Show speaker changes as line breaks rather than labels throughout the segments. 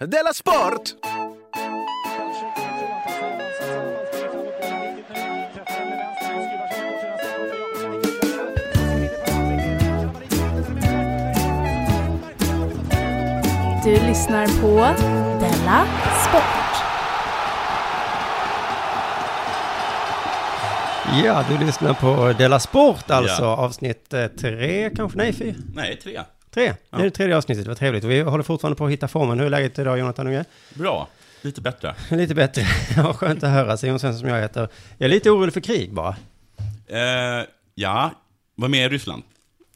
Della Sport!
Du lyssnar på Della Sport.
Ja, du lyssnar på Della Sport alltså,
Ja.
avsnitt eh, tre kanske, nej fy,
Nej, tre.
tre. Det är det tredje avsnittet, vad trevligt. Och vi håller fortfarande på att hitta formen. Hur är läget idag Jonathan Unge?
Bra. Lite bättre.
Lite bättre, Ja, skönt att höra. Simon Svensson som jag heter. Jag är lite orolig för krig bara.
Eh, ja, vad med i Ryssland?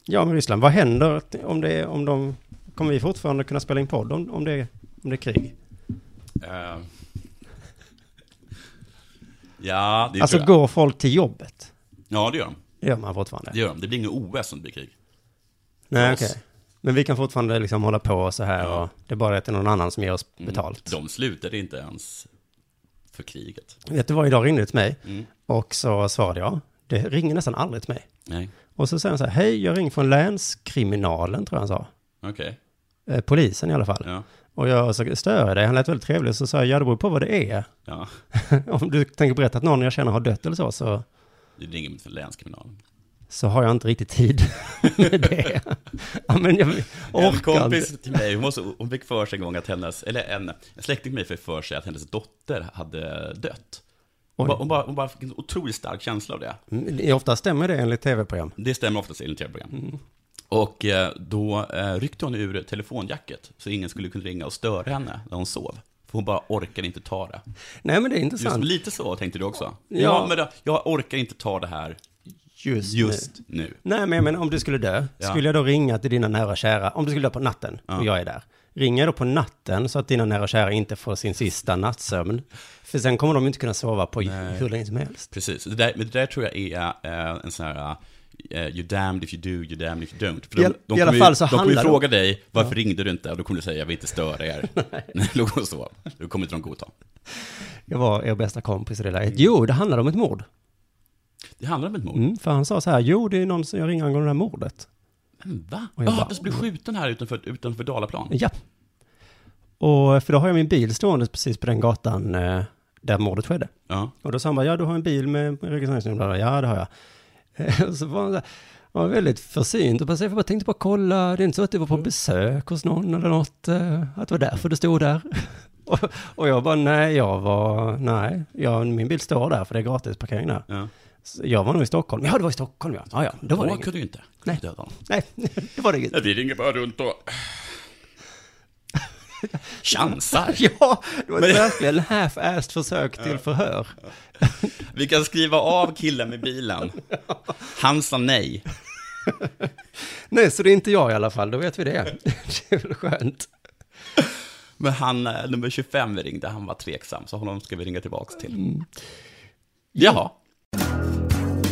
Ja, men Ryssland, vad händer om det, om de, kommer vi fortfarande kunna spela in podd om, om, det, om det är krig?
Eh, ja, det
Alltså
tror jag.
går folk till jobbet?
Ja, det gör de.
Det gör man fortfarande?
Det, gör de. det blir inget OS om det blir krig.
Nej,
oss.
okej. Men vi kan fortfarande liksom hålla på så här
Ja. Mm,
och det är bara att det är någon annan som ger oss betalt.
De slutade inte ens för kriget.
Vet du vad, idag ringde det till mig
Mm.
och så svarade jag. Det ringer nästan aldrig till mig.
Nej,
Och så säger han så här, hej, jag ringer från länskriminalen, tror jag han sa.
okej.
Eh, Polisen i alla fall.
Ja,
Och jag sa, stör jag dig? Han lät väldigt trevlig. Så sa jag, ja det beror på vad det är.
ja.
Om du tänker berätta att någon jag känner har dött eller så, så,
Det ringer mot länskriminalen.
så har jag inte riktigt tid med det. ja, men jag
En
orkar inte.
kompis till mig, hon, måste, hon fick för sig en gång att hennes, eller en, en släkting till mig fick för sig att hennes dotter hade dött. Hon,
Oj.
bara, hon, bara, hon bara fick en otroligt stark känsla av det.
Mm, Ofta stämmer det enligt tv-program.
Det stämmer oftast enligt tv-program.
Mm.
Och eh, då eh, ryckte hon ur telefonjacket så ingen skulle kunna ringa och störa henne när hon sov. För hon bara orkade inte ta det.
Nej, men det är
Just
intressant.
lite så tänkte du också. Ja,
Ja.
men då, jag orkar inte ta det här
Just,
just nu.
Nej, men jag menar om du skulle dö,
Ja.
skulle jag då ringa till dina nära och kära, om du skulle dö på natten och jag är där, ringer jag då på natten så att dina nära och kära inte får sin sista nattsömn? För sen kommer de inte kunna sova på hur länge som helst.
Precis, det där, men det där tror jag är eh, en sån här eh, You're damned if you do, you're damned if you don't. För
I all- i alla
kommer ju-
fall så
de kommer ju
handlar det om-
fråga dig, varför ringde du inte? Och då kommer du säga, jag vill inte störa er. Nej. Låg och sov. Då kommer inte de godta.
Jag var er bästa kompis i det läget. Jo, det handlade om ett mord.
Det handlar om ett mord.
Mm, för han sa så här, jo, det är någon som jag ringer angående det här mordet.
Men va?
Och jag
Ja,
bara-
ah, blev skjuten här utanför, utanför Dalaplan.
Ja. Och för då har jag min bil stående precis på den gatan eh, där mordet skedde.
Ja.
Och då sa han bara, ja du har en bil med registreringsnummer, ja det har jag. Och så var han så här, han var väldigt försynt och bara, så jag bara tänkte bara kolla, det är inte så att du var på
Mm.
besök hos någon eller något, eh, att det var därför det stod där. Och, och jag bara, nej, jag var, nej, jag, min bil står där för det är gratisparkering där.
ja.
Så jag var nog i Stockholm, ja det var i Stockholm ja, ja, ja då var det
Då
inget.
kunde ju inte
Nej.
döda honom.
Nej, det var det inget.
Vi ringer bara runt och... Chansar.
Ja, det var ett
Men-
verkligen half-assed försök till förhör.
Vi kan skriva av killen med bilen. Han sa nej.
Nej, så det är inte jag i alla fall, då vet vi det. Det är väl skönt.
Men han, eh, nummer 25 vi ringde, han var tveksam, så honom ska vi ringa tillbaks
Mm.
till. Jaha.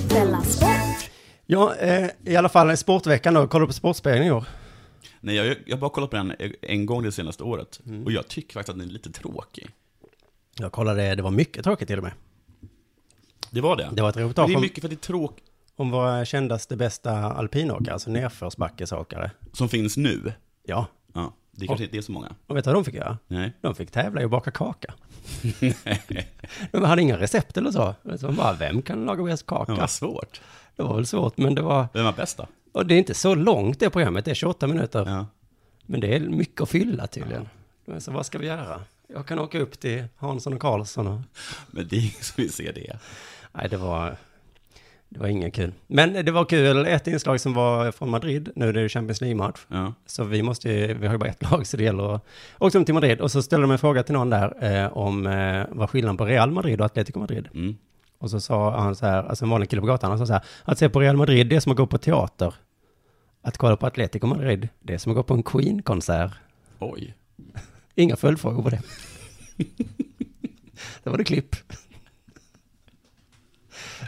Della Sport.
Ja, eh, i alla fall i sportveckan då. Kollar du på Sportspegeln i år?
Nej, jag jag har bara kollat på den en gång det senaste året.
Mm.
Och jag tycker faktiskt att den är lite tråkig.
Jag kollade, det var mycket tråkigt till och med.
Det var det.
Det var ett
Men
reportage
det är
om,
mycket för att det är tråkigt
om våra kändaste bästa alpinåkare, alltså nedförsbackesåkare.
som finns nu.
Ja,
Ja, det kanske inte är så många.
och vet du vad de fick göra?
Nej.
De fick tävla i att baka kaka. De hade inga recept eller så. Så de bara, vem kan laga bäst kaka?
Det var svårt.
Det var väl svårt, men det var...
Vem var bäst då?
Och det är inte så långt det programmet, det är 28 minuter.
Ja.
Men det är mycket att fylla tydligen. Men så vad ska vi göra? Jag kan åka upp till Hansson och Karlsson och...
Men det är ingen som vill se det.
Nej, det var... Det var inget kul. Men det var kul, ett inslag som var från Madrid, nu är det ju Champions League-match.
Ja.
Så vi måste ju, vi har ju bara ett lag, så det gäller att... Åkte de till Madrid och så ställde de en fråga till någon där eh, om eh, vad skillnaden på Real Madrid och Atletico Madrid.
Mm.
Och så sa han så här, alltså en vanlig kille på gatan, han sa så här, att se på Real Madrid, det är som att gå på teater. Att kolla på Atletico Madrid, det är som att gå på en Queen-konsert.
Oj.
Mm. Inga följdfrågor på det. det var det klipp.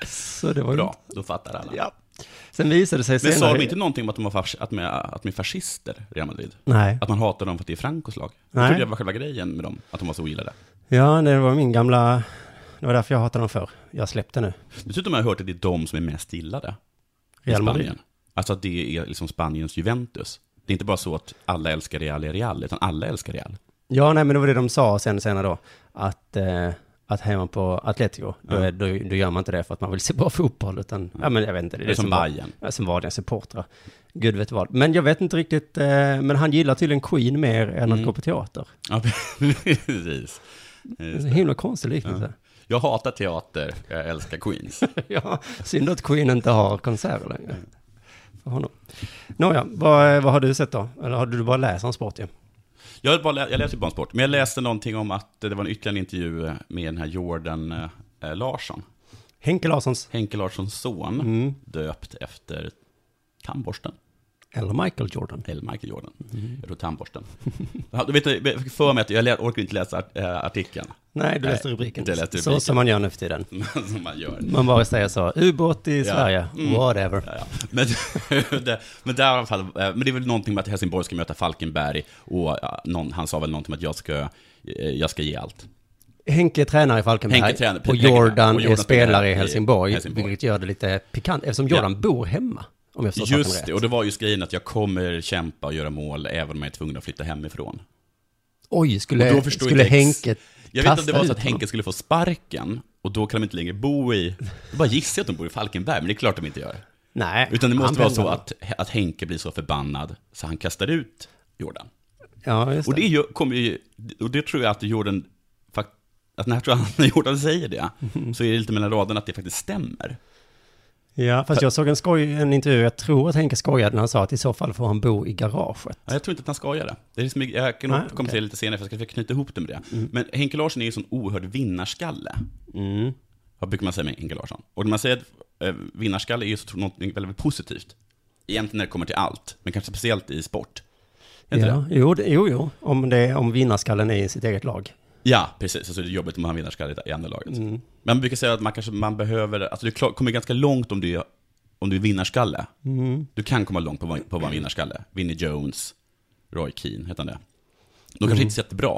Så det var ju
Bra,
inte-
då fattar alla.
Ja. Sen visade det sig
Men
senare...
sa de inte någonting om att de, var fas, att de, är- att de är fascister, Real Madrid?
Nej.
Att man hatar dem för att det är Francos lag?
Nej.
Jag trodde det var själva grejen med dem, att de var så ogillade.
Ja, nej, det var min gamla... Det var därför jag hatade dem förr. Jag släppte nu.
Dessutom har jag hört att det är de som är mest gillade i
Real Madrid.
Spanien. Alltså att det är liksom Spaniens Juventus. Det är inte bara så att alla älskar Real i Real, utan alla älskar Real.
Ja, nej, men det var det de sa sen senare då. Att, eh, att hemma på Atletico, då, är, då, då gör man inte det för att man vill se bra fotboll, utan, ja men jag vet inte.
Mm. Det är som
var-
Bayern.
Ja, som vanliga supportrar. Gud vet vad. Men jag vet inte riktigt, eh, men han gillar tydligen Queen mer än
Mm.
att gå på teater.
Ja, precis.
Det är en himla konstig liknelse.
Jag hatar teater, jag älskar Queens.
Ja. synd att Queen inte har konserter längre. För honom. Nåja, vad, vad har du sett då? Eller har du bara läst om sport ju?
Jag, vill bara lä- jag läste ju bara om sport, men jag läste någonting om att det var en ytterligare intervju eh, med den här Jordan eh, Larsson.
Henke Larssons,
Henke Larssons son,
Mm.
döpt efter tandborsten.
eller Michael Jordan.
Eller Michael Jordan. Jag tror tandborsten. Ja, du vet, jag fick för mig att jag lä- orkar inte läsa art- eh, artikeln.
Nej, du
Nej,
läste rubriken.
inte läste
Så
rubriken.
som man gör nu för tiden.
Som man gör.
Man bara säger så, ubåt i Sverige,
Mm.
whatever.
Ja, ja. Men, det, men, där i alla fall, eh, men det är väl någonting med att Helsingborg ska möta Falkenberg och ja, någon, han sa väl någonting om att jag ska, eh, jag ska ge allt.
Henke är tränare i Falkenberg
Henke är tränare,
och,
Henke är tränare.
Jordan
Och
är
Jordan
spelare i
i
Helsingborg,
Helsingborg.
vilket gör det lite pikant, eftersom Jordan bor hemma. Om jag förstår saken
Just
rätt.
det, och det var just grejen att jag kommer kämpa och göra mål även om jag är tvungen att flytta hemifrån.
Oj, skulle,
Och då förstår
skulle
inte ex-
Henke
Jag vet
kasta
att det var
ut
så att
honom?
Henke skulle få sparken och då kan de inte längre bo i... Jag bara gissar att de bor i Falkenberg, men det är klart de inte gör.
Nej,
Utan det
han
måste vara så
pendlar.
att, att Henke blir så förbannad så han kastar ut Jordan.
Ja, just
Och det, är ju, kommer ju, och det tror jag att Jordan, fakt- att när jag tror att när Jordan säger det, så är det lite mellan raderna att det faktiskt stämmer.
Ja, fast jag såg en, skoj, en intervju, jag tror att Henke skojade när han sa att i så fall får han bo i garaget.
Ja, jag tror inte att han skojar det. det är liksom, jag kan
Nej,
återkomma
okej.
till det lite senare, för jag ska försöka knyta ihop det med det. Men Henke Larsson är ju en sån oerhörd vinnarskalle.
Mm.
Vad brukar man säga med Henke Larsson? Och när man säger att eh, vinnarskalle är ju så, något väldigt, väldigt positivt. Egentligen när det kommer till allt, men kanske speciellt i sport. Är inte
Ja, jo, det, jo, jo, om, det, om vinnarskallen är i sitt eget lag.
Ja, precis. Alltså det är jobbigt om man har vinnarskalle i andra laget.
Mm.
Men man brukar säga att man kanske man behöver, alltså du klar- kommer ganska långt om du, om du är vinnarskalle.
Mm.
Du kan komma långt på att vara- på att vara vinnarskalle. Vinnie Jones, Roy Keane, heter han det. De kanske
Mm.
inte är jättebra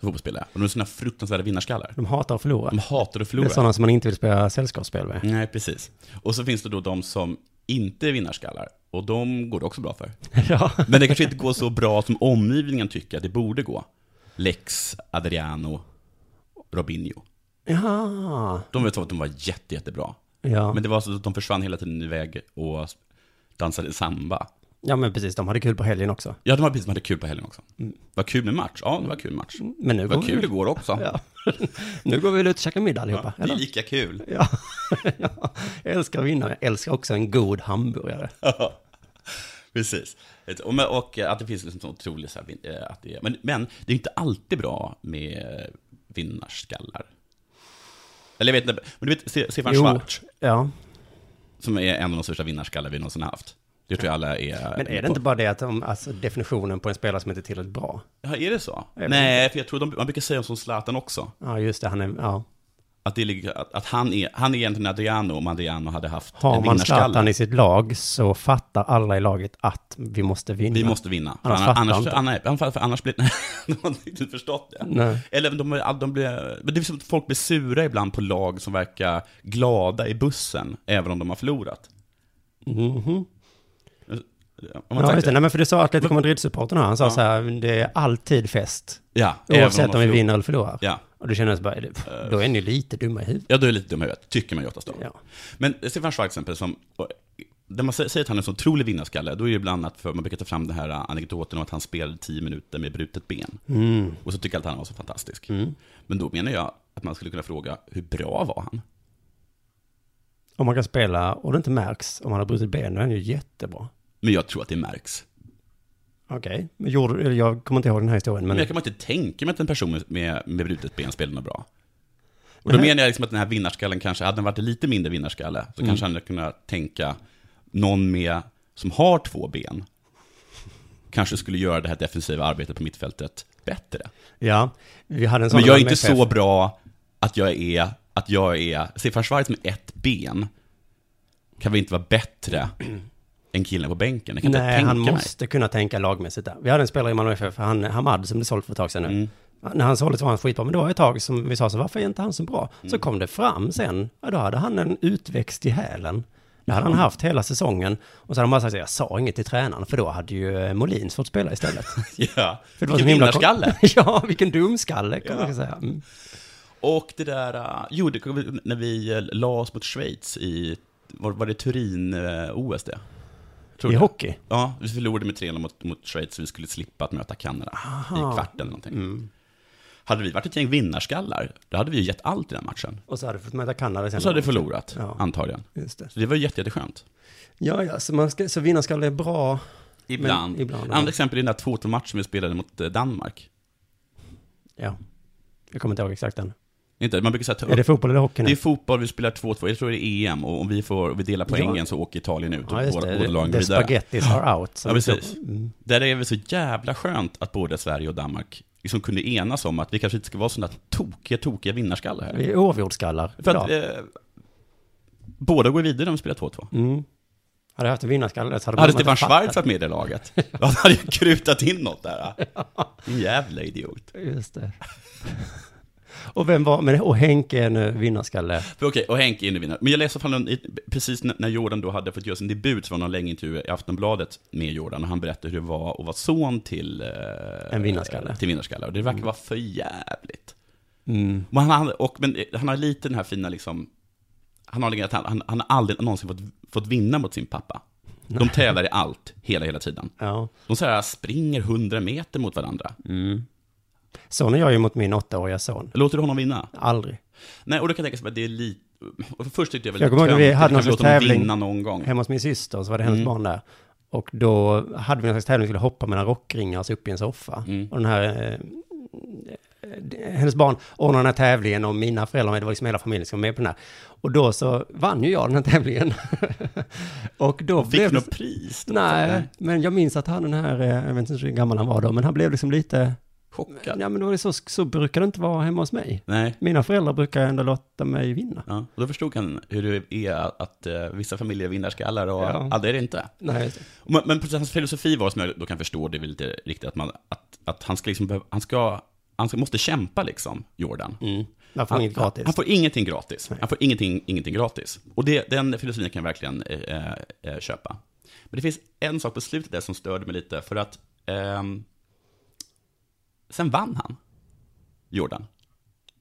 som fotbollsspelare, och de är sådana fruktansvärda vinnarskallar.
De hatar att förlora.
De hatar att
Det är
förlora.
sådana som man inte vill spela sällskapsspel med.
Nej, precis. Och så finns det då de som inte är vinnarskallar, och de går det också bra för.
ja.
Men det kanske inte går så bra som omgivningen tycker att det borde gå. Lex, Adriano, Robinho.
ja.
De vet att de var jätte, jättebra.
Ja.
Men det var så att de försvann hela tiden iväg och dansade samba.
ja, men precis, de hade kul på helgen också.
Ja, de var precis som hade kul på helgen också.
Mm.
Vad kul med match. Ja, det var kul match.
Men nu går,
Vad kul
vi,
igår också.
Mm. Ja. nu går vi väl ut och käkar middag allihopa,
Det är
eller?
lika kul.
Ja. ja, jag älskar vinnare, jag älskar också en god hamburgare.
Precis. Och, men- och att det finns liksom så otroligt så här, vin- eh, att det är, men, men det är inte alltid bra med vinnarskallar. Eller jag vet inte, men du vet Se- Stefan Schwarz,
ja.
som är en av de största vinnarskallar vi någonsin haft. Det tror jag alla är...
Men är det inte bara det att de, alltså, definitionen på en spelare som inte är tillräckligt bra?
Ja, är det så?
vet
Nej, för jag tror de, man brukar säga som Zlatan också.
Ja, just det, han är, ja.
Att, det ligger, att, att han, är, han är egentligen Adriano om Adriano hade haft
Har
en
man
vinnarskalle.
Zlatan i sitt lag så fattar alla i laget att vi måste vinna.
Vi måste vinna.
Annars
För
fattar
annars,
inte.
annars, annars, för annars blir... de har inte riktigt förstått det.
Nej.
Eller de, de, de blir... Men det är som att folk blir sura ibland på lag som verkar glada i bussen, även om de har förlorat.
Mhm.
Har man
Ja,
sagt
just det.
det?
Nej, men för det sa Atletico Madrid-supportern här. Han sa så här, det är alltid fest.
Ja, även de
Oavsett
har
om vi
förlorat.
vinner eller förlorar.
Ja. Eh.
Och då kändes det bara, pff, då är ni lite dumma i huvudet.
Ja, du är lite dum i huvudet, tycker man ju oftast då.
Ja.
Men Stefan Schwarz till exempel, som, och, när man sä- säger att han är en sån otrolig vinnarskalle, då är det bland annat för man brukar ta fram den här ä, anekdoten om att han spelade tio minuter med brutet ben. Och så tycker alla att han var så fantastisk. Men då menar jag att man skulle kunna fråga, hur bra var han?
Om man kan spela och det inte märks om man har brutit ben, då är han ju jättebra.
Men jag tror att det märks.
Okej, men gjorde, eller jag kommer inte ihåg den här historien, men...
Men jag kan bara inte tänka mig att en person med- med, med brutet ben spelar något bra. Och då menar jag liksom att den här vinnarskallen kanske, hade den varit lite mindre vinnarskalle,
Mm.
så kanske han hade kunnat tänka, någon med, som har två ben, kanske skulle göra det här defensiva arbetet på mittfältet bättre.
Ja, vi hade en sån...
Men jag är
med
inte
chef.
så bra att jag är, att jag är, Stefan Schwarz med ett ben, kan väl inte vara bättre än killen på bänken? Jag kan inte
Nej,
tänka
han
mig.
måste kunna tänka lagmässigt där. Vi hade en spelare i Malmö FF, han Hamad, som blev såld för ett tag sedan nu.
Mm.
När han såldes var han skitbra, men det var ett tag som
Mm.
vi sa så, varför är inte han så bra? Så kom det fram sen, ja, då hade han en utväxt i hälen. Det hade han
Mm.
haft hela säsongen. Och så hade han bara sagt, jag sa inget till tränaren, för då hade ju eh, Molins fått spela istället.
Ja,
För
vilken vinnarskalle!
ja, vilken dumskalle kan man
Ja.
säga. Mm.
Och det där, eh, jo, det kom, vi- när vi eh, la oss mot Schweiz i, var, var det äh, Turin-OS det?
I hockey.
Ja, vi förlorade med 3-0 mot, mot Schweiz, så vi skulle slippa att möta Kanada i kvarten eller någonting.
Mm.
Hade vi varit ett gäng vinnarskallar, då hade vi ju gett allt i den matchen.
Och så hade du fått möta Kanada sen.
Och så hade vi förlorat,
Ja.
antagligen.
Just det.
Så det var ju jätte, jätteskönt.
Ja, ja, så, man ska, så vinnarskalle är bra.
Ibland.
Men ibland, ja.
Andra exempel är den där 2-2-matchen vi spelade mot eh, Danmark.
Ja. Jag kommer inte ihåg exakt den.
Inte, man brukar säga ta
Är det fotboll eller hockey nu?
Det är fotboll, vi spelar 2-2, jag tror det är EM, och om vi, får, om vi delar poängen så åker Italien ut och
ja, just
båda,
det.
båda lagen
The
går vidare.
spaghettis are out. så- mm.
Ja, precis. Där är det så jävla skönt att både Sverige och Danmark liksom kunde enas om att vi kanske inte ska vara sådana tokiga, tokiga vinnarskallar här.
Vi är oavgjordskallar.
För att
idag.
eh, båda går vidare när de spelar 2-2.
Mm. Hade jag haft en vinnarskalle där så hade
Hade
man
Stefan
inte fattat.
Schwarz varit med i det laget, då hade ju krutat in något där. En jävla idiot.
Just det. och vem var, men, och Henke är nu vinnarskalle.
För Okej, och Henke är nu vinnare. Men jag läste i alla fall en- i- precis när när Jordan då hade fått göra sin debut, så var det någon längre intervju i Aftonbladet med Jordan, och han berättade hur det var att vara son till... eh,
En vinnarskalle. Mm.
Till vinnarskalle, och det verkar vara för jävligt. Men han, har- och, men eh, han har lite den här fina liksom, han har, liksom- han, han, han har aldrig någonsin fått, fått vinna mot sin pappa. De tävlar i allt, hela, hela tiden.
Ja.
De så här springer 100 meter mot varandra.
Mm. Sån är jag ju mot min åttaåriga son.
Låter du honom vinna?
Aldrig.
Nej, och då kan jag tänka sig att det är lite... och Först tyckte jag väl
Jag kommer ihåg när vi
töntigt,
hade någon
kanske
sorts
låta dem
tävling.
vinna någon gång.
Hemma hos min syster så var det hennes barn där. Och då hade vi någon slags tävling, vi skulle hoppa mellan rockringar och så upp i en soffa. Och den här, eh, eh, hennes barn ordnade den här tävlingen och mina föräldrar, det var liksom hela familjen som var med på den här. Och då så vann ju jag den här tävlingen. och då
Fick
blev
du
det...
något pris? då?
Nej, men jag minns att han den här, eh, jag vet inte hur gammal han var då, men han blev liksom lite...
Chockad?
Ja, men då var det så, så brukar det inte vara hemma hos mig.
Nej.
Mina föräldrar brukar ändå låta mig vinna.
Ja, och då förstod han hur det är att, att eh, vissa familjer vinner skallar och
Ja.
andra är det inte.
Nej, just det.
Men, men precis, hans filosofi var, som jag då kan förstå, det är väl lite riktigt, att, man, att, att han ska liksom behöva, han ska, han ska, måste kämpa liksom, Jordan.
Mm, man får
Han,
inget gratis.
han får ingenting gratis. Han får ingenting, ingenting gratis. Och det, den filosofin kan jag verkligen eh, eh, köpa. Men det finns en sak på slutet där som störde mig lite, för att ehm, sen vann han, Jordan.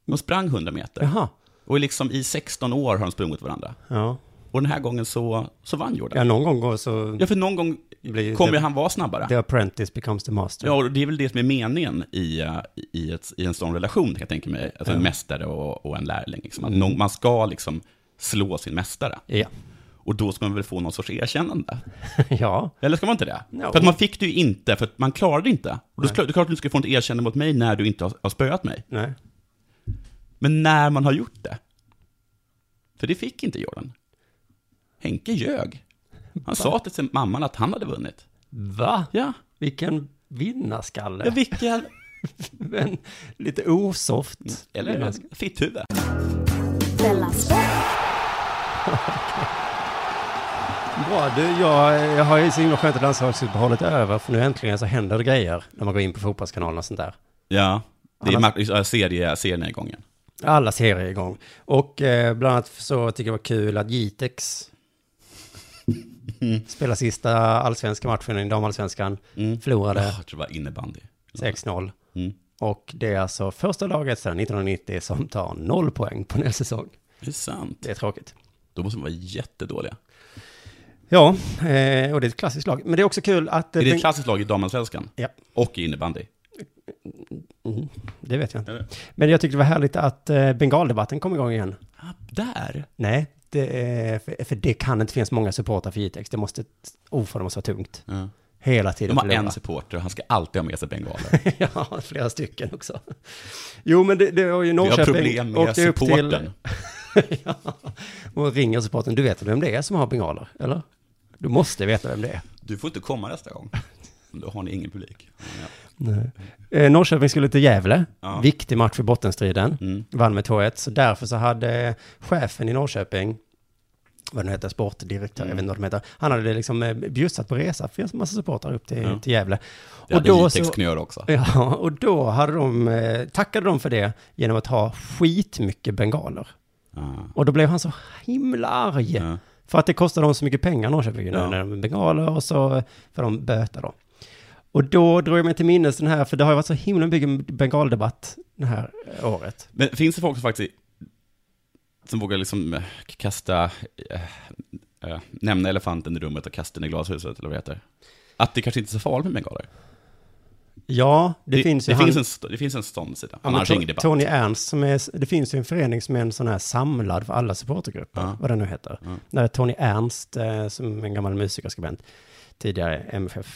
De sprang 100 meter.
Jaha,
Och liksom i 16 år har de sprungit varandra.
ja.
Och den här gången så, så vann Jordan.
Ja,
Ja.
någon gång går så...
för någon gång
Blir-
kommer
det-
ju han vara snabbare.
The apprentice becomes the master.
Ja, och det är väl det som är meningen i, eh, i, ett, i en sån relation, kan jag tänka mig. Alltså en mästare och, och en lärling. Liksom. Att någon, man ska liksom slå sin mästare.
Ja.
Och då ska man väl få någon sorts erkännande.
ja.
Eller ska man inte det?
No.
För att man fick det ju inte, för att man klarade inte. Och då ska, det är klart att du inte ska få något erkännande mot mig när du inte har, har spöat mig.
Nej.
Men när man har gjort det. För det fick inte Jordan. Henke ljög. Han sa till sin mamman att han hade vunnit.
Va?
Ja,
Vilken vinnarskalle.
ja vilken...
Men lite osoft.
Mm. Eller
vinnarskalle.
fitthuvud.
Della Sport!
Bra, du, jag, jag har ju så himla skönt att landslagsuppehållet är över, för nu äntligen så händer det grejer när man går in på fotbollskanalen och sånt där.
Ja, det är
Annars-
match- ja, serie, serien är igången.
Alla serier är igång. Och eh, bland annat så tycker jag det var kul att Jitex spelar sista allsvenska matchen i damallsvenskan. Förlorade
Ja, jag tror Ah, det var innebandy.
6-0.
Mm.
Och det är alltså första laget sedan 1990 som tar noll poäng på en hel säsong.
Det är sant.
Det är tråkigt.
Då måste man vara jättedåliga.
Ja, eh, och det är ett klassiskt lag. Men det är också kul att... eh,
Är det ett klassiskt lag i damallsvenskan?
Ja,
Och i innebandy?
det vet jag inte.
Eller?
Men jag tyckte det var härligt att eh, bengaldebatten kom igång igen.
Ah, där?
Nej, det är, för, för det kan inte finnas många supportrar för Jitex. Det måste... Oh, för det måste vara tungt.
Ja.
Hela tiden
De har
förlora.
en supporter och han ska alltid ha med sig bengaler.
Ja, flera stycken också. Jo, men det, det var ju
Vi har
Norrköping.
problem med
åkte upp
supporten.
ja, och ringer supporten. Du vet vem det är som har bengaler, eller? Du måste veta vem det är.
Du får inte komma nästa gång. Då har ni ingen publik. Ja.
Eh, Norrköping skulle till Gävle.
Ja.
Viktig match för bottenstriden.
Mm.
Vann med 2-1. Så därför så hade chefen i Norrköping, vad nu heter, sportdirektör,
Mm.
jag vet inte vad de heter. Han hade liksom eh, bjussat på resa för en massa supportrar upp till,
Ja.
till Gävle.
Det hade Jitex kunnat göra också.
Ja, och då hade de, eh, tackade de för det genom att ha skitmycket bengaler.
Ah.
Och då blev han så himla arg.
Ja.
För att det kostar dem så mycket pengar, Norrköping, nu
Ja.
när de bengaler och så får de böta då. Och då drog jag mig till minnes den här, för det har ju varit så himla mycket bengaldebatt det här eh, året.
Men finns det folk som faktiskt som vågar liksom eh, kasta, eh, eh, nämna elefanten i rummet och kasta den i glashuset, eller vad det heter? Att det kanske inte är så farligt med bengaler?
Ja, det, finns ju
det,
han-
finns en, st- det finns en sån sida.
Ja, men
Annars
To-
är ingen debatt.
Tony Ernst, som är, det finns ju en förening som är en sån här samlad för alla supportergrupper,
Ja.
vad den nu heter.
Ja.
Där är Tony Ernst, eh, som är en gammal musikerskribent, tidigare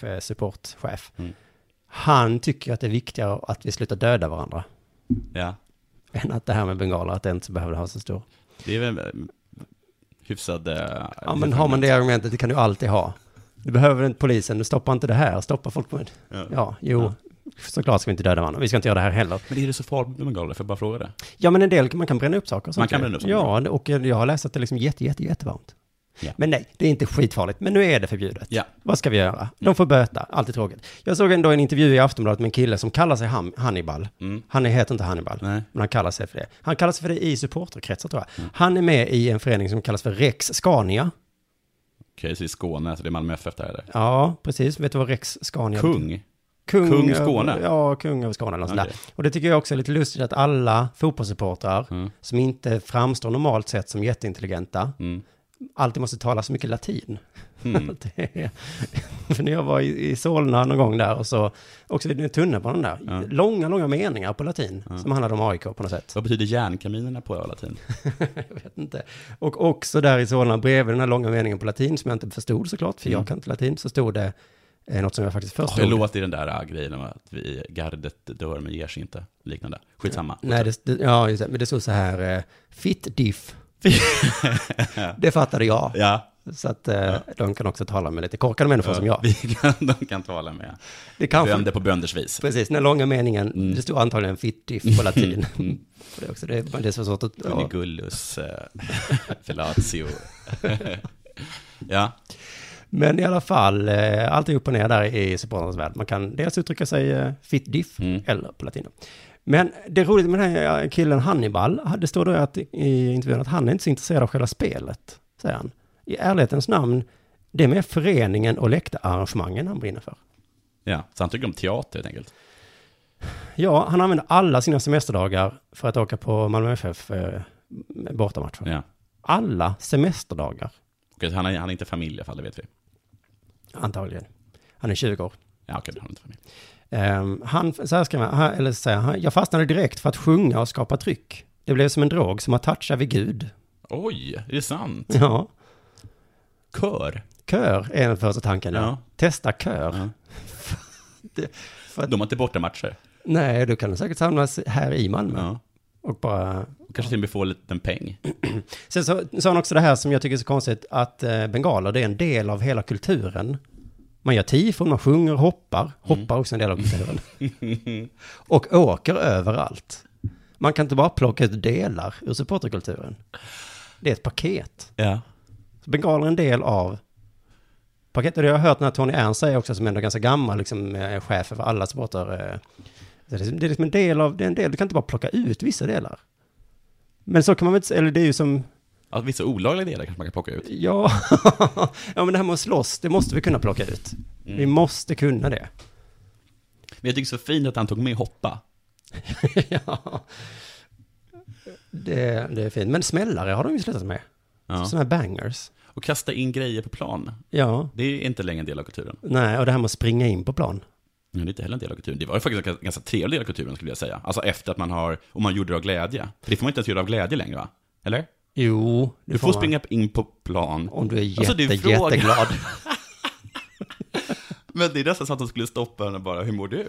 MFF-supportchef,
Mm.
eh, han tycker att det är viktigare att vi slutar döda varandra
Ja,
än att det här med bengaler, att det inte behöver ha så stor.
det är väl eh, hyfsad... eh,
Ja, men har man det argumentet, det kan du alltid ha. Du behöver inte polisen, du stoppar inte det här, stoppa folk med...
Ja.
Ja, jo, såklart ska vi inte döda varandra, vi ska inte göra det här heller.
Men är det så farligt med bengaler? Får jag bara fråga det?
Ja, men en del, man kan bränna upp saker. och sånt
Man kan
ju.
bränna upp saker.
Ja, och jag har läst att det är liksom jätte, jätte, jättevarmt.
Ja.
Men nej, det är inte skitfarligt. Men nu är det förbjudet.
Ja. Mm.
Vad ska vi göra? De får böta, alltid tråkigt. Jag såg ändå en intervju i Aftonbladet med en kille som kallar sig Ham- Hannibal.
Mm.
Han är- heter inte Hannibal,
Nej. Mm.
men han kallar sig för det. Han kallar sig för det i supporterkretsar tror jag. Han är med i en förening som kallas för Rex Scania.
Okej, så det är Skåne, så det är Malmö FF där eller?
Ja, precis. Vet du vad Rex Scania
Kung?
Kung,
Kung
över-
Skåne.
Ja, kung över Skåne. Eller något sånt där.
Okej.
Och det tycker jag också är lite lustigt att alla fotbollssupportrar
Mm.
som inte framstår normalt sett som jätteintelligenta
Mm.
alltid måste tala så mycket latin.
Mm.
Det är- För när jag var i, i Solna någon gång där och så också vid den tunnelbanan där,
Ja.
långa, långa meningar på latin som handlade om AIK på något sätt.
Vad betyder järnkaminerna på latin?
Jag vet inte. Och också där i Solna, bredvid den här långa meningen på latin som jag inte förstod såklart, för jag kan inte latin, så stod det eh, något som jag faktiskt
Har Mm. det
förstod.
låtit i den där äh, grejen om att vi gardet dör men ger sig inte? Liknande. Skitsamma.
Nej, det, det, ja, just det, men det stod så här, eh, fit diff. det fattade jag.
Ja,
Så att eh, de kan också tala med lite korkade människor som jag.
vi kan, de kan tala med
Det kanske,
bönder på Mm. bönders vis.
precis, den här långa meningen, det stod antagligen fit diff på latin. det, är också, det, det är så svårt att... Ja.
Unigullus, eh, fellatio. ja,
Men i alla fall, eh, allt är upp och ner där i supportrarnas värld. Man kan dels uttrycka sig eh, fit diff eller på latin. Men det roliga med den här eh, killen Hannibal, ah, det står då att i intervjun att han är inte så intresserad av själva spelet, säger han. I ärlighetens namn, det är mer föreningen och läktararrangemangen han brinner för.
ja, så han tycker om teater helt enkelt.
Ja, han använder alla sina semesterdagar för att åka på Malmö FF eh, bortamatcher.
Ja.
Alla semesterdagar,
Okej, så han, är, han är inte familj i alla fall, det vet vi.
antagligen. Han är 20 år.
Ja, okej, han är inte familj.
Ehm, han, så här skrev han, han- eller så här, han, jag fastnade direkt för att sjunga och skapa tryck. Det blev som en drog som har touchat vid Gud.
Oj, är det sant?
Ja,
Kör?
kör är den första tanken. Ja.
Ja.
Testa kör.
Ja.
Det- för att,
De har inte bortamatcher.
nej, du kan säkert samlas här i Malmö
Ja.
och bara...
Kanske till och med får en liten peng.
Sen så sa han också det här som jag tycker är så konstigt, att eh, bengaler, det är en del av hela kulturen. Man gör tifon, man sjunger,
Mm.
hoppar. Hoppar är också en del av kulturen. och åker överallt. Man kan inte bara plocka ut delar ur supporterkulturen. Det är ett paket.
Ja.
Så bengaler är en del av paketet. Och det har jag hört när Tony Ernst säger också, som ändå är ganska gammal, liksom eh, chef för alla supporter. eh, så Det är det är liksom en del av, det är en del, du kan inte bara plocka ut vissa delar. Men så kan man väl inte, eller det är ju som,
Ja, vissa olagliga delar kanske man kan plocka ut.
Ja. ja, men det här med att slåss, det måste vi kunna plocka ut.
Mm.
Vi måste kunna det.
Men jag tycker så fint att han tog med hoppa.
ja. Det, det är fint. Men smällare har de ju slutat med.
Ja.
Sådana här bangers.
Och kasta in grejer på plan.
Ja.
Det är inte längre en del av kulturen.
Nej, och det här med att springa in på plan.
Ja, det är inte heller en del av kulturen. Det var ju faktiskt en ganska trevlig del av kulturen skulle jag säga. Alltså efter att man har, och man gjorde det av glädje. För det får man inte ens göra av glädje längre va? Eller?
Jo, det
Du får
man.
springa in på plan.
Om du är jätte,
Alltså, det är frågan.
jätteglad.
Men det är nästan så att de skulle stoppa en och bara, hur mår du?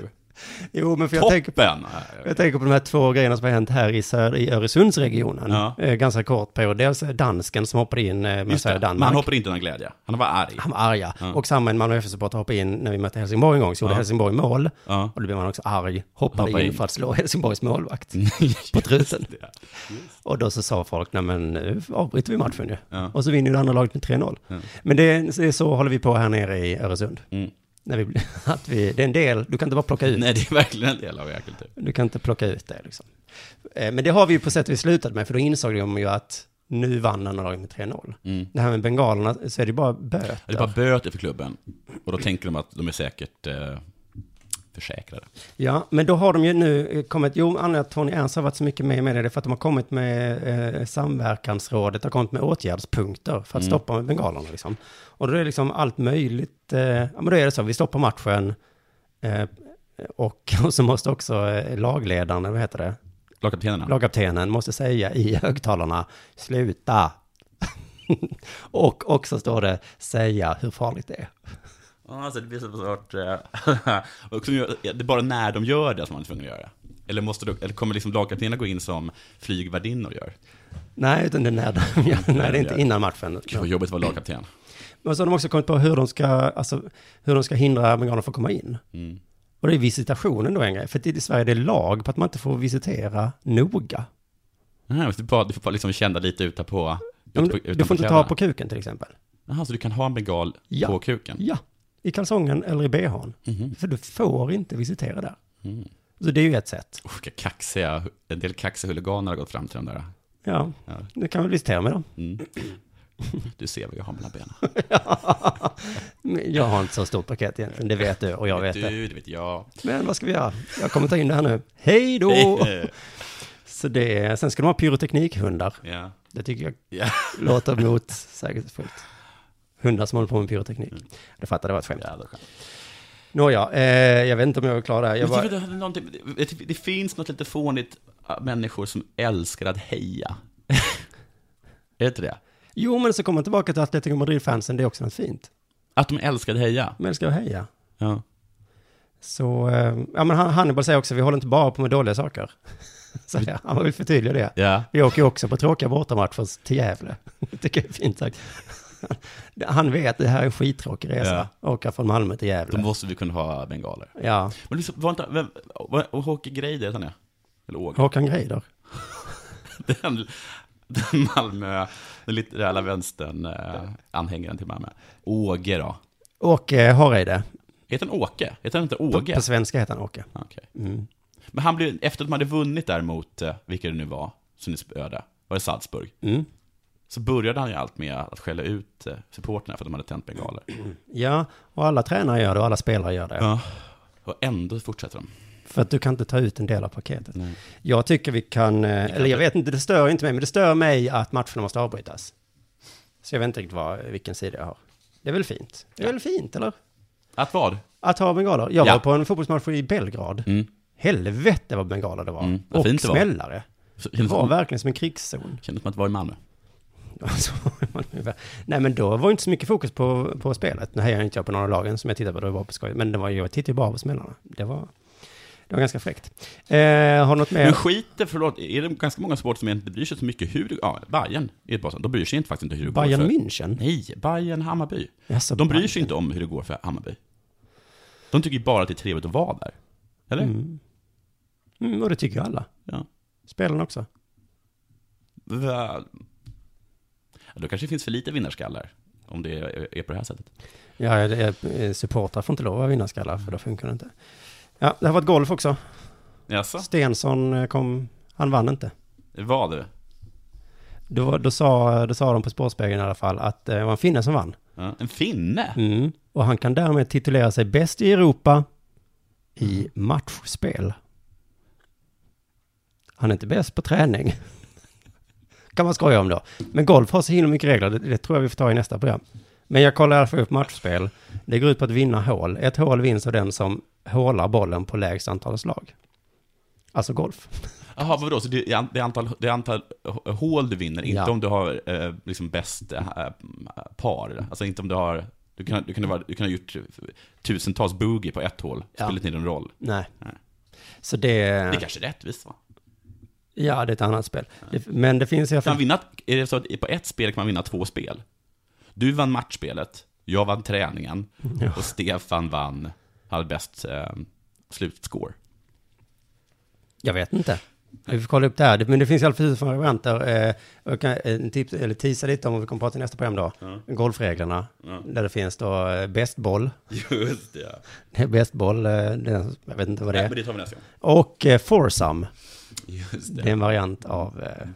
Jo, men för jag tänker,
Toppen!
jag tänker på de här två grejerna som har hänt här i, söder, i Öresundsregionen.
Ja.
Eh, ganska kort period. Dels dansken som hoppade in eh, med
Just det.
södra
Men
Danmark.
han hoppade inte in av glädje. Han var arg.
Han var arga. Och samma en Malmö FF-supporter hoppade in när vi mötte Helsingborg en gång, så gjorde Helsingborg mål.
Ja.
Och då blev man också arg, hoppade
Hoppa
in
in.
för att slå Helsingborgs målvakt på truten. Och då så sa folk, nej men nu avbryter vi matchen ju.
Ja.
Och så vinner ju det andra laget med 3-0. Men det är, så håller vi på här nere i Öresund.
Mm.
När vi, blir- att vi, det är en del, du kan inte bara plocka ut,
Nej, det är verkligen en del av er kultur.
du kan inte plocka ut det liksom. Eh, Men det har vi ju på sätt och vis slutat med, för då insåg de ju att nu vann andra laget med 3-0.
Mm.
Det här med bengalerna, så är det bara böter.
Det är bara böter för klubben. Och då tänker de att de är säkert eh, försäkrade.
Ja, men då har de ju nu eh, kommit, jo, anledningen till att Tony Ernst har varit så mycket med i media, det är för att de har kommit med eh, samverkansrådet, har kommit med åtgärdspunkter för att stoppa bengalerna liksom. Och då är det liksom allt möjligt, eh, ja men då är det så, vi stoppar matchen eh, och, och så måste också eh, lagledaren, vad heter det,
Lagkaptenerna.
lagkaptenen måste säga i högtalarna, sluta. och också står det, säga hur farligt det är.
Ja, Alltså, det blir så svårt. eh, och som gör- det är bara när de gör det som man är tvungen att göra. Eller, måste du, eller kommer liksom lagkaptenerna gå in som flygvärdinnor gör?
Nej, utan det är när de, ja, nej, det är inte innan matchen.
Gud vad jobbigt att vara lagkapten.
Men så har de också kommit på hur de ska, alltså, hur de ska hindra bengalerna från att komma in.
Mm.
Och det är visitationen då en grej. För att i Sverige det är lag på att man inte får visitera noga.
Nej, du, bara, du får bara liksom känna lite ute på...
Du,
ute på-
du
utanpå
får inte ta
kläderna.
på kuken till exempel.
Jaha, så du kan ha en bengal
Ja.
på kuken?
Ja, Mhm. i kalsongen eller i bhn. För du får inte visitera där. Så det är ju ett sätt.
Oh, vilka kaxiga, en del kaxiga huliganer har gått fram till den där.
Ja,
Ja.
du kan väl visitera med dem.
Mm. Du ser vad jag har mellan benen.
Men Jag har inte så stort paket egentligen, det vet du och jag vet det.
Du, det vet jag.
Men vad ska vi göra? Jag kommer ta in det här nu. Hej då! Så det, är- sen ska de ha pyroteknikhundar.
ja.
Det tycker jag
Ja.
låter motsägelsefullt. Hundar som håller på med pyroteknik. Det fattade jag var ett skämt.
Jävla skönt.
Nåja, eh, jag vet inte om jag var klar där. Jag
Jag
bara,
tycker det, hade någonting- det, det finns något lite fånigt äh, människor som älskar att heja. är det inte det?
jo, men så kommer jag tillbaka till Atletico Madrid-fansen, det är också något fint.
Att de älskar att heja.
Men ska jag heja?
Ja.
Så, eh, ja men Han- Hannibal säger också, vi håller inte bara på med dåliga saker. Så ja, han vill förtydliga det.
ja.
Vi åker ju också på tråkiga bortamatcher till Gävle. Det tycker jag är fint sagt. Han vet, att det här är en skittråkig resa. Åka från Malmö till
Då
Gävle.
måste vi kunna ha bengaler.
Ja,
Men liksom, var inte, vem, var, och Håke Greider, heter han det? Eller Åge?
Håkan Greider.
Den, den Malmö, den litterära vänstern, eh, anhängaren till Malmö. Åge då?
Åke Hareide.
Heter han Åke? Heter han inte
På,
Åge?
på svenska heter han Åke.
Ah, okej.
Mm.
Men han blev, efter att de hade vunnit där mot, eh, vilka det nu var, som ni spöade, var det Salzburg?
Mm.
Så började han ju allt med att skälla ut eh, supporterna för att de hade tänt bengaler.
Ja, och alla tränare gör det och alla spelare gör det.
Ja. Och ändå fortsätter de.
För att du kan inte ta ut en del av paketet.
Nej.
Jag tycker vi kan, eh, eller jag vet inte, det stör inte mig, men det stör mig att matcherna måste avbrytas. Så jag vet inte riktigt vad, vilken sida jag har. Det är väl fint? Det är väl fint, eller?
Att vad?
Att ha bengaler. Jag
Ja.
var på en fotbollsmatch i Belgrad.
Mm.
Helvete vad bengaler det var.
Mm, vad
och
fint det var.
smällare.
Så
Det
Kändes
var
som,
verkligen som en krigszon.
kändes som att det var i Malmö.
Alltså, man är väl- Nej men då var inte så mycket fokus på, på spelet. Nu hejar inte jag på någon av lagen som jag tittade på, det var på skoj. Men det var, jag tittade ju bara på smällarna. Det var, det var ganska fräckt. Eh, har något mer?
Men skiter, förlåt, är det ganska många supportrar som egentligen inte bryr sig så mycket hur det, ja, Bayern är ett bra sånt. de bryr sig inte faktiskt inte hur det
Bayern
går för...
München?
Nej, Bayern, Hammarby.
Jaså,
De bryr
Bayern.
sig inte om hur det går för Hammarby. De tycker ju bara att det är trevligt att vara där. Eller?
Mm. Mm, och det tycker ju alla.
Ja.
Spelarna också.
Va- Ja, Då kanske det finns för lite vinnarskallar, om det är är på det här sättet.
Ja, ja, det är- eh, supportrar får inte lov att vinna skallar, för då funkar det inte. Ja, det har varit golf också.
Jaså?
Stensson eh, kom, han vann inte.
Vad? du?
Då, då, sa, då sa de på Sportspegeln i alla fall att eh, det var en finne som vann.
Ja, en finne?
Mm. Och han kan därmed titulera sig bäst i Europa
Mm.
i matchspel. Han är inte bäst på träning. kan man skoja om då. Men golf har så himla mycket regler, det, det tror jag vi får ta i nästa program. Men jag kollar i alla fall upp matchspel. Det går ut på att vinna hål. Ett hål vinns av den som hålar bollen på lägst antal slag. Alltså golf.
Jaha, vadå? Så det är, an- det, är antal, det är antal h- hål du vinner, inte
Ja.
om du har eh, liksom bäst eh, par? Alltså inte om du har... Du kan, du, kan, vara- du kan ha gjort tusentals boogie på ett hål,
Ja.
spelar inte någon roll.
Nej.
Nej.
Så det...
Det är kanske är rättvist va?
Ja, det är ett annat spel. Det, men det finns i alla
Kan man
fall...
vinna, är det så att på ett spel kan man vinna två spel? Du vann matchspelet, jag vann träningen
Ja.
och Stefan vann, hade bäst eh, slutscore.
Jag vet inte. Vi får kolla upp det här. Men det finns i alla fall fyra varianter. Eh, och jag kan eh, tips, eller tisa lite om vad vi kommer prata i nästa program då. Golfreglerna. Där det finns då eh, bäst boll.
Just det.
Det är Bäst boll, eh, det är, jag vet inte vad det
Nej,
är.
men det tar vi nästa gång.
Och eh, foursome.
Just
Det är en variant av eh,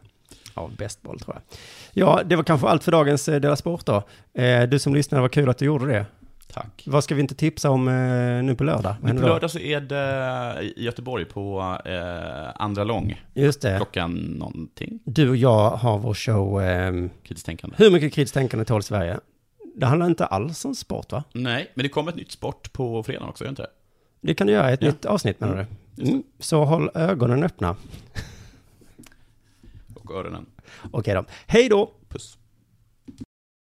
av bäst boll tror jag. Ja, det var kanske allt för dagens eh, Dela Sport då. Eh, du som lyssnade, vad kul att du gjorde det.
Tack.
Vad ska vi inte tipsa om eh, nu på lördag? Vad
Men på
händer då?
lördag så är det i Göteborg på eh, Andra Lång,
Just det.
klockan någonting,
Du och jag har vår show ehm,
kritiskt tänkande.
Hur mycket kritiskt tänkande tål Sverige? Det handlar inte alls om sport va?
Nej, men det kommer ett nytt sport på fredag också, gör det inte det?
Det kan du göra i ett
Ja.
nytt avsnitt menar du?
just
Mm. Så håll ögonen öppna.
Och öronen.
Okej då. Hej då!
Puss.